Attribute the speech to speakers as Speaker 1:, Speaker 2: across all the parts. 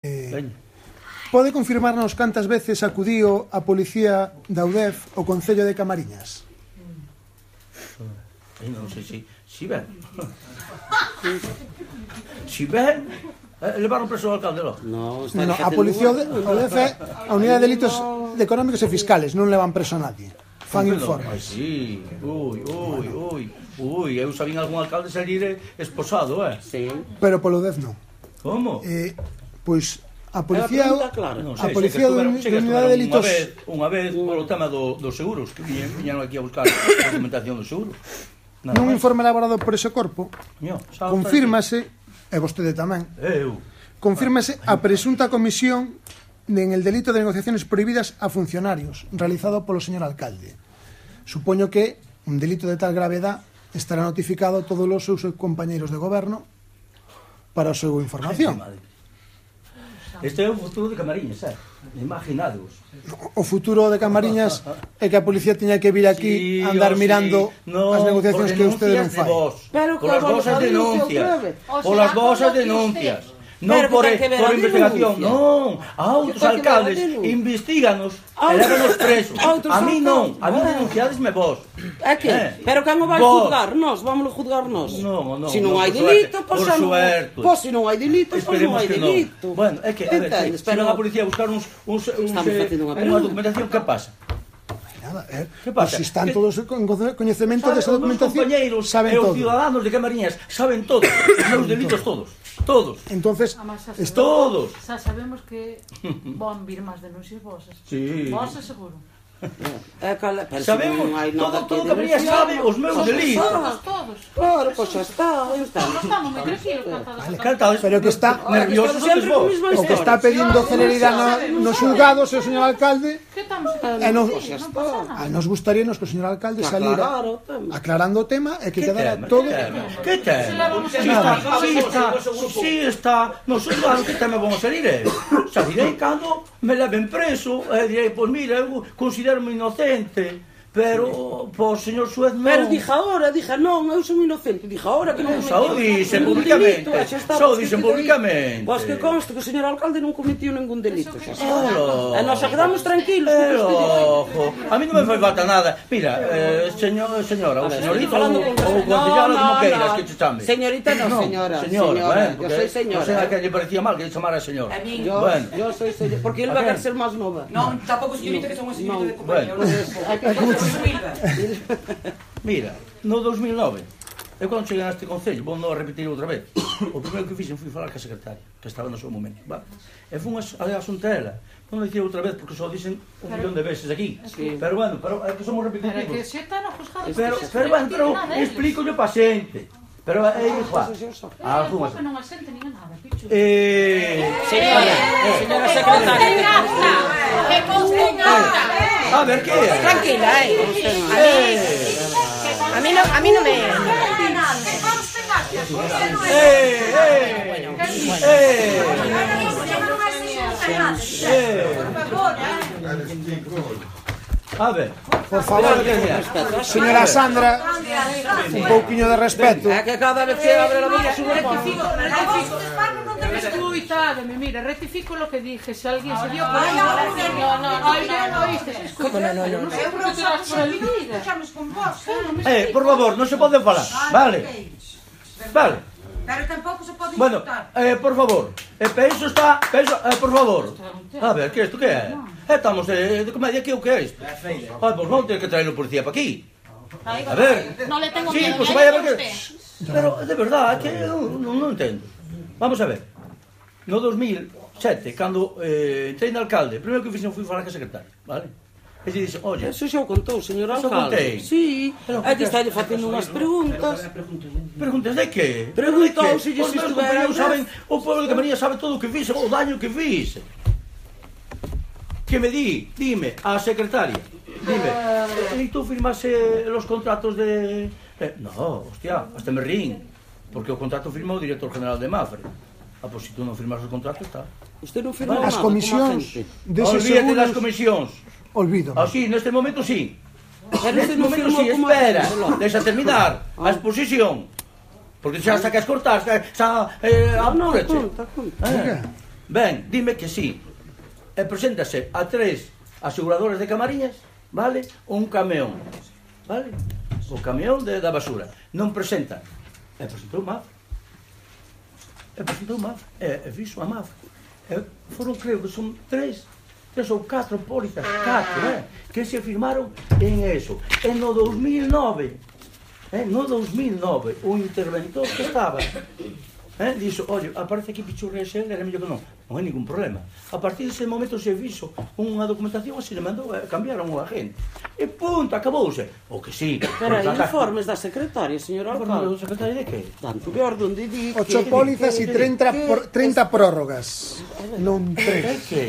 Speaker 1: Eh,
Speaker 2: Veña.
Speaker 1: Pode confirmarnos cantas veces acudiu a policía da UDEF o Concello de Camariñas?
Speaker 2: Eu non sei se si ven. Si ven, eh, levaron preso o alcalde logo.
Speaker 3: No, está
Speaker 1: No, a policía de, a UDEF é a Unidade de Delitos de Económicos e Fiscales, non levan preso a nadie. Fan
Speaker 2: Ai,
Speaker 1: informes.
Speaker 2: sí. Ui, ui, ui. Ui, eu sabín algún alcalde salir eh, esposado, eh.
Speaker 3: Sí.
Speaker 1: Pero polo UDEF non.
Speaker 2: Como?
Speaker 1: Eh, pois a
Speaker 3: Policía...
Speaker 1: policía
Speaker 3: clara.
Speaker 2: Non
Speaker 3: No.
Speaker 1: a policía
Speaker 2: sei que estuveron-
Speaker 1: de-
Speaker 2: sei que
Speaker 1: de unidade de
Speaker 2: estuveron
Speaker 1: delitos-
Speaker 2: Unha vez, unha vez polo tema do, dos seguros, que viñen, viñeron aquí a buscar a documentación dos seguros. Nada
Speaker 1: nun
Speaker 2: máis.
Speaker 1: informe elaborado por ese corpo
Speaker 2: Coño, salta
Speaker 1: confírmase, e vostede tamén,
Speaker 2: aquí. Eu.
Speaker 1: confírmase a presunta comisión de- en el delito de negociaciones prohibidas a funcionarios realizado polo señor alcalde. Supoño que un delito de tal gravedad estará notificado a todos os seus compañeiros de goberno para a súa información.
Speaker 2: Madre. Este é o futuro de Camariñas, eh. Imaginados.
Speaker 1: O futuro de Camariñas é que a policía tiña que vir aquí
Speaker 2: Sí,
Speaker 1: andar
Speaker 2: oh, sí.
Speaker 1: mirando
Speaker 2: No,
Speaker 1: as negociacións
Speaker 2: por
Speaker 1: que usted non
Speaker 2: denuncias de
Speaker 1: fai.
Speaker 2: vos,
Speaker 4: Pero
Speaker 2: por
Speaker 4: que
Speaker 2: las
Speaker 4: vos
Speaker 2: vosas
Speaker 4: lo dice
Speaker 2: denuncias.
Speaker 4: otra vez.
Speaker 5: O
Speaker 2: Por
Speaker 5: sea,
Speaker 2: las vosas
Speaker 5: por lo que
Speaker 2: denuncias.
Speaker 5: usted-
Speaker 2: No
Speaker 4: Pero
Speaker 2: por,
Speaker 4: que que me
Speaker 2: por
Speaker 4: la
Speaker 2: investigación,
Speaker 4: denuncia.
Speaker 2: non. A outros
Speaker 4: que me la
Speaker 2: alcaldes
Speaker 4: denuncia.
Speaker 2: investiganos,
Speaker 4: A outros-
Speaker 2: elevanos presos.
Speaker 4: a outros
Speaker 2: A mí non,
Speaker 4: alcaldes.
Speaker 2: a mí
Speaker 4: Ah.
Speaker 2: denunciadesme vos.
Speaker 4: É que,
Speaker 2: Eh,
Speaker 4: pero quen o vai
Speaker 2: vos.
Speaker 4: juzgar? Nós, vámonos juzgar nós.
Speaker 2: Non, non,
Speaker 4: se non
Speaker 2: non,
Speaker 4: hai
Speaker 2: por suerte,
Speaker 4: delito, pois
Speaker 2: por
Speaker 4: xa non.
Speaker 2: suerte.
Speaker 4: Pois se non hai delito, pois non
Speaker 2: Esperemos
Speaker 4: hai
Speaker 2: que non.
Speaker 4: delito.
Speaker 2: Bueno, é que, a ver,
Speaker 4: Entendes?
Speaker 2: se
Speaker 4: Pero
Speaker 2: non a policía a buscar uns, uns, uns,
Speaker 4: Estamos
Speaker 2: eh,
Speaker 4: facendo unha
Speaker 2: unha
Speaker 4: pregunta.
Speaker 2: documentación, que pasa?
Speaker 1: Nada, eh,
Speaker 2: Que
Speaker 1: pois
Speaker 2: pasa?
Speaker 1: se están
Speaker 2: Que-
Speaker 1: todos con cono- coñecemento
Speaker 2: Sabe,
Speaker 1: desa
Speaker 2: os meus
Speaker 1: documentación,
Speaker 2: compañeiros
Speaker 1: saben
Speaker 2: e os
Speaker 1: todo.
Speaker 2: ciudadanos de Camariñas saben todo, os meus delitos todos, todos.
Speaker 1: Entonces,
Speaker 5: Además, xa
Speaker 1: esto
Speaker 2: Todos.
Speaker 5: Xa sabemos que van vir máis denuncias vosas.
Speaker 2: Sí.
Speaker 5: Vosas seguro.
Speaker 4: É que, pero se
Speaker 2: Sabemos,
Speaker 4: non hai
Speaker 2: todo,
Speaker 4: nada
Speaker 2: todo
Speaker 4: que
Speaker 2: Camariñas
Speaker 4: denunciar.
Speaker 2: sabe os meus delitos.
Speaker 5: Todos, todos.
Speaker 4: Claro, pois xa está, aí está.
Speaker 5: Nós estamos moi tranquilos cantados.
Speaker 2: Cantados,
Speaker 1: Pero que está-
Speaker 2: nervioso
Speaker 4: Sempre
Speaker 2: sois vos.
Speaker 4: as mesmas
Speaker 1: o que está
Speaker 4: horas.
Speaker 1: pedindo celeridade no, nos xulgados é o señor alcalde
Speaker 5: Que estamos aquí?
Speaker 1: e nos,
Speaker 5: Sí, non pasa
Speaker 2: Ah.
Speaker 5: nada.
Speaker 1: a nos gustaríanos que o señor alcalde salira
Speaker 4: Aclarar o tema.
Speaker 1: aclarando o tema e que
Speaker 2: Que
Speaker 1: quedara
Speaker 2: tema,
Speaker 1: todo
Speaker 2: que tema, que tema. Si
Speaker 5: Nada.
Speaker 2: está, si está, si está, non sei claro que tema vamos salir ¿eh? eu. Salirei cando me leven preso e direi, pois mira, eu considerarme inocente, pero pois señor Suez non.
Speaker 4: Pero dixa ahora, dixa non, eu son inocente. Dixa ahora que non
Speaker 2: Xa o dixen
Speaker 4: ningún
Speaker 2: publicamente,
Speaker 4: delito, e xa está,
Speaker 2: xa o
Speaker 4: pois que
Speaker 2: dixen
Speaker 4: quede aí.
Speaker 2: publicamente.
Speaker 4: Pois que conste que o señor alcalde non cometiu ningún delito. xa está.
Speaker 2: Olo.
Speaker 4: E nós xa quedamos tranquilos. porque isto é-
Speaker 2: Ojo, a mí non me fai falta nada. Mira, eh, señor, señora, o señorito ou
Speaker 4: falando
Speaker 2: ou
Speaker 4: con vostede.
Speaker 2: concellara,
Speaker 4: No,
Speaker 2: como
Speaker 4: no,
Speaker 2: queiras
Speaker 4: no.
Speaker 2: que te chame.
Speaker 4: Señorita no, señora, señora,
Speaker 2: eh,
Speaker 4: yo
Speaker 2: porque
Speaker 4: soy
Speaker 2: Non sei a
Speaker 4: señora.
Speaker 2: que lle parecía mal que lle chamara señora.
Speaker 4: Eh,
Speaker 6: A mí.
Speaker 4: Yo,
Speaker 2: Bueno.
Speaker 4: yo soy señor, porque él va
Speaker 2: Ok.
Speaker 4: a ser más nova.
Speaker 6: No, tampoco señorita que somos señorita de compañía.
Speaker 2: Bueno.
Speaker 4: Hay que-
Speaker 2: Mira, no 2009, eu cando cheguei a este concello, vou non a repetir outra vez, o primeiro que fixen foi falar ca secretaria, que estaba no seu momento, va? E fun a, a asunta ela, non dicir outra vez, porque só dicen un millón de veces aquí.
Speaker 4: Sí.
Speaker 2: Pero bueno, pero é que somos
Speaker 5: Pero que
Speaker 2: repetitivos.
Speaker 5: se está no juzgado.
Speaker 2: Pero,
Speaker 5: que se
Speaker 2: pero,
Speaker 5: non
Speaker 2: bueno,
Speaker 5: tiene
Speaker 2: pero
Speaker 5: nada eles.
Speaker 2: explícolle o paciente. Pero ah, é igual.
Speaker 5: Eh,
Speaker 2: Algunhas.
Speaker 5: que Non asente nin nada, pichu.
Speaker 2: Eh,
Speaker 4: Señora, señora secretaria.
Speaker 5: Que conste en acta.
Speaker 2: Eh, a ver que é?
Speaker 6: Tranquila, eh.
Speaker 2: Eh,
Speaker 6: A mí no, a mí no me.
Speaker 5: Que conste en acta.
Speaker 2: eh, eh, eh, a ver.
Speaker 1: por favor
Speaker 2: Ah,
Speaker 1: señora Sandra un pouquiño de respeto
Speaker 4: É que cada vez que abre la boca sube pa-
Speaker 5: Escuitademe, mire, rectifico lo que dije. Si alguien se dio cuenta, no, no, no, no, no, oíste, escúchame, no, no, no, sé por qué te das por aludida. Claro, me
Speaker 2: Eh, por
Speaker 5: explico.
Speaker 2: favor, non se pode falar. Vale, vale.
Speaker 7: Pero tampouco se pode
Speaker 2: Bueno,
Speaker 7: insultar.
Speaker 2: eh, por favor. Eh, penso está, penso, eh, por favor. A ver, que isto que é? Eh, estamos eh, de comedia que o que é isto? Ah, pois vamos ter que traer o policía para aquí. A ver,
Speaker 5: No le tengo
Speaker 2: Sí,
Speaker 5: miedo.
Speaker 2: pues
Speaker 5: ya
Speaker 2: vaya
Speaker 5: dice
Speaker 2: porque...
Speaker 5: usted.
Speaker 2: Pero de verdad, que eu non, non entendo. Vamos a ver. No 2007, cando eh, entrei na alcalde, o primeiro que fixen foi falar ca secretaria, vale? E se dixe, oye,
Speaker 4: Eso xa o contou, señor
Speaker 2: Eso contei.
Speaker 4: alcalde. Sí,
Speaker 2: Pero-
Speaker 4: é que estálle facendo unhas preguntas.
Speaker 2: preguntas de que?
Speaker 4: Preguntou se lle
Speaker 2: Os meus
Speaker 4: estuvera
Speaker 2: compañeros
Speaker 4: aí,
Speaker 2: saben, o pueblo de Camarilla sabe todo o que fixe, o daño que fixe. Que me di, dime, a secretaria, dime, e tú firmase los contratos de... Eh, no, hostia, hasta me rín, porque o contrato firmou o director general de Mafre. Ah, pois se tú non firmas o contrato, está.
Speaker 4: Usted non firmou
Speaker 1: as
Speaker 4: nada
Speaker 1: comisións
Speaker 4: como agente.
Speaker 1: deses
Speaker 2: Olvídate das
Speaker 1: seguros
Speaker 2: comisións.
Speaker 1: olvido
Speaker 2: Así, neste momento Ah, sí.
Speaker 4: Pero
Speaker 2: Neste
Speaker 4: usted non
Speaker 2: momento
Speaker 4: firmou
Speaker 2: sí,
Speaker 4: como
Speaker 2: espera.
Speaker 4: agente.
Speaker 2: Deixa terminar a exposición. Porque xa sacas cortar, xa, xa eh,
Speaker 4: Ah, non,
Speaker 2: apúrate.
Speaker 4: conta, conta.
Speaker 2: Eh, Ben, dime que sí. E preséntase a tres aseguradoras de camariñas, vale? Un camión, vale? O camión de, da basura. Non presenta. E presentou MAF. E presentou MAF. E, e fixo a MAF. E foron, creo que son tres, tres ou catro pólizas, catro, eh? Que se firmaron en eso. E no 2009, Eh, no 2009, un interventor que estaba eh, dixo, ollo, aparece aquí Pichurria SL, era mellor que non, non hai ningún problema. A partir dese momento se viso unha documentación así le mandou, eh, cambiaron o agente. E punto, acabouse. O que sí.
Speaker 4: Pero hai informes da secretaria, señor
Speaker 2: Informe do
Speaker 4: Alcalde.
Speaker 2: secretario de que?
Speaker 4: Tanto que orden de di que...
Speaker 1: Ocho pólizas e 30, por, 30 prórrogas. Non
Speaker 2: É
Speaker 1: tres.
Speaker 2: que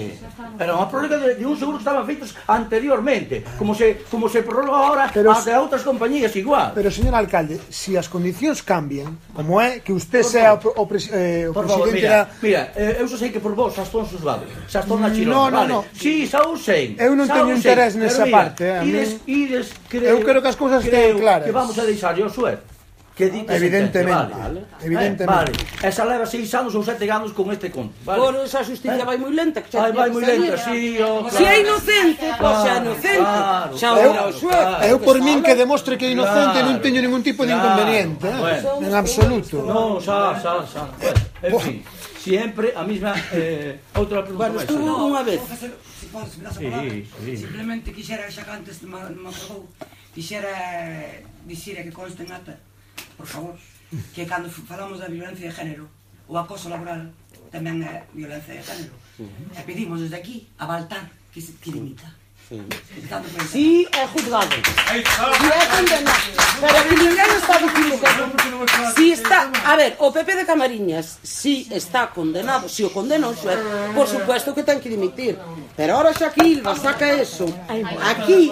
Speaker 2: era unha prórroga de, de un seguro que estaban feitos anteriormente, como se como se prorroga ahora
Speaker 1: Pero
Speaker 2: a de outras compañías igual.
Speaker 1: Pero, señor alcalde, se as condicións cambian, como é que usted sea o, pre- o, pres- eh, o
Speaker 2: Por favor,
Speaker 1: presidente da...
Speaker 2: mira,
Speaker 1: Mm,
Speaker 2: mira, eh, eu só sei que por vos Sastón sus vale. Sastón na Chirona,
Speaker 1: No, no,
Speaker 2: vale.
Speaker 1: no.
Speaker 2: Sí, xa o sei.
Speaker 1: Eu non
Speaker 2: xa
Speaker 1: teño
Speaker 2: o sei,
Speaker 1: interés
Speaker 2: pero
Speaker 1: nesa
Speaker 2: mira,
Speaker 1: parte, eh, a mí-
Speaker 2: Ides, ides,
Speaker 1: Eu
Speaker 2: creo,
Speaker 1: creo que as cousas
Speaker 2: creo
Speaker 1: teñen claras.
Speaker 2: Que vamos a deixar yo suerte. Que di que
Speaker 1: Evidentemente,
Speaker 2: Vale.
Speaker 1: evidentemente.
Speaker 2: Eh, vale. Esa leva seis anos ou sete anos con este conto, vale?
Speaker 4: Bueno, esa justicia vai moi lenta. que xa
Speaker 2: Ai, vai moi
Speaker 4: tiña que salir.
Speaker 2: lenta, sí, oh,
Speaker 4: Se é inocente, pois xa é inocente.
Speaker 2: claro,
Speaker 4: Xa
Speaker 2: claro,
Speaker 4: o xuez.
Speaker 2: claro.
Speaker 1: Eu por min que demostre que é inocente non teño ningún tipo de
Speaker 2: Claro,
Speaker 1: inconveniente, eh?
Speaker 2: bueno.
Speaker 1: en absoluto.
Speaker 2: No, xa, xa, xa. Bueno, en fin, siempre a mesma eh, outra pregunta.
Speaker 4: Bueno,
Speaker 2: máis.
Speaker 4: estuvo unha vez.
Speaker 3: Profesor, se podes, me das a
Speaker 2: Sí,
Speaker 3: palabra?
Speaker 2: sí.
Speaker 3: Simplemente quixera, xa que antes me, me acabou, quixera eh, dicir e que conste en ata, por favor, que cando f- falamos da violencia de género, o acoso laboral tamén é violencia de género. E pedimos desde aquí a Baltar que se que limita. Tanto que
Speaker 4: Si é juzgado. Si é condenado. Pero que ninguén está equivocado. Si está, a ver, o PP de Camariñas, si está condenado, si o condena un xuez, por supuesto que ten que dimitir. Pero ahora xa que Ilva saca eso, aquí,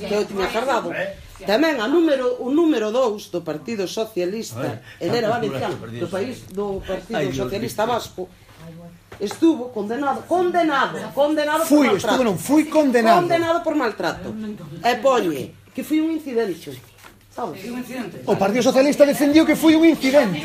Speaker 4: que eu tiña cardado, Tamén a número o número 2 do Partido Socialista, Helena Valenciano, do país do Partido Socialista Vasco, estuvo condenado, condenado, condenado por
Speaker 1: Fui,
Speaker 4: maltrato.
Speaker 1: estuve non, fui condenado.
Speaker 4: Condenado por maltrato. E poñe que foi un incidente. Sabes?
Speaker 3: un incidente.
Speaker 1: O Partido Socialista defendiu que foi un incidente.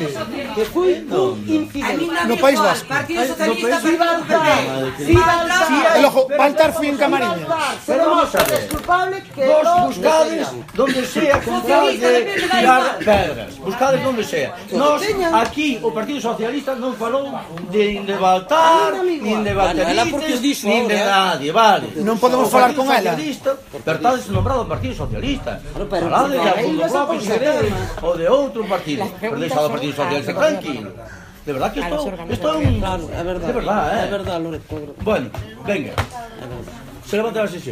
Speaker 4: Que foi
Speaker 7: A
Speaker 4: un
Speaker 7: mí
Speaker 4: incidente.
Speaker 7: no me
Speaker 1: No País
Speaker 7: igual,
Speaker 1: Vasco.
Speaker 7: Partido
Speaker 2: Ay, no, pero
Speaker 7: Socialista, Partido
Speaker 2: sí
Speaker 4: Baltar,
Speaker 7: Verde.
Speaker 4: sí, Baltar.
Speaker 1: El ojo, Baltar fui en Camariñas.
Speaker 4: Pero vamos a ver. culpable que no
Speaker 2: buscades
Speaker 4: defendamos.
Speaker 2: donde sea con tal
Speaker 7: Socialista,
Speaker 2: de
Speaker 7: depende, da
Speaker 2: tirar
Speaker 7: igual.
Speaker 2: pedras. Buscades donde sea. Nos, aquí, o Partido Socialista non falou de nin de Baltar,
Speaker 4: Ah, non, amigo.
Speaker 2: nin de
Speaker 4: Vale, ela porque
Speaker 2: Valterites,
Speaker 4: dixo
Speaker 2: nin de
Speaker 4: ahora, eh.
Speaker 2: nadie, vale.
Speaker 1: Non podemos
Speaker 2: O
Speaker 1: falar
Speaker 2: Partido
Speaker 1: con ela.
Speaker 2: Socialista, Pero está desnombrado o Partido Socialista.
Speaker 4: Pero, pero,
Speaker 2: Falade de
Speaker 4: pero,
Speaker 2: algún
Speaker 4: aí vas a
Speaker 2: propio
Speaker 4: pon
Speaker 2: interés
Speaker 4: tema.
Speaker 2: ou de outro partido. Pero deixado o Partido Socialista tranquilo. De verdad que isto, isto é un...
Speaker 4: Claro, é verdade.
Speaker 2: De verdad, eh.
Speaker 4: É verdade, Loreto. é verdade.
Speaker 2: Bueno, venga. Se levanta la sesión.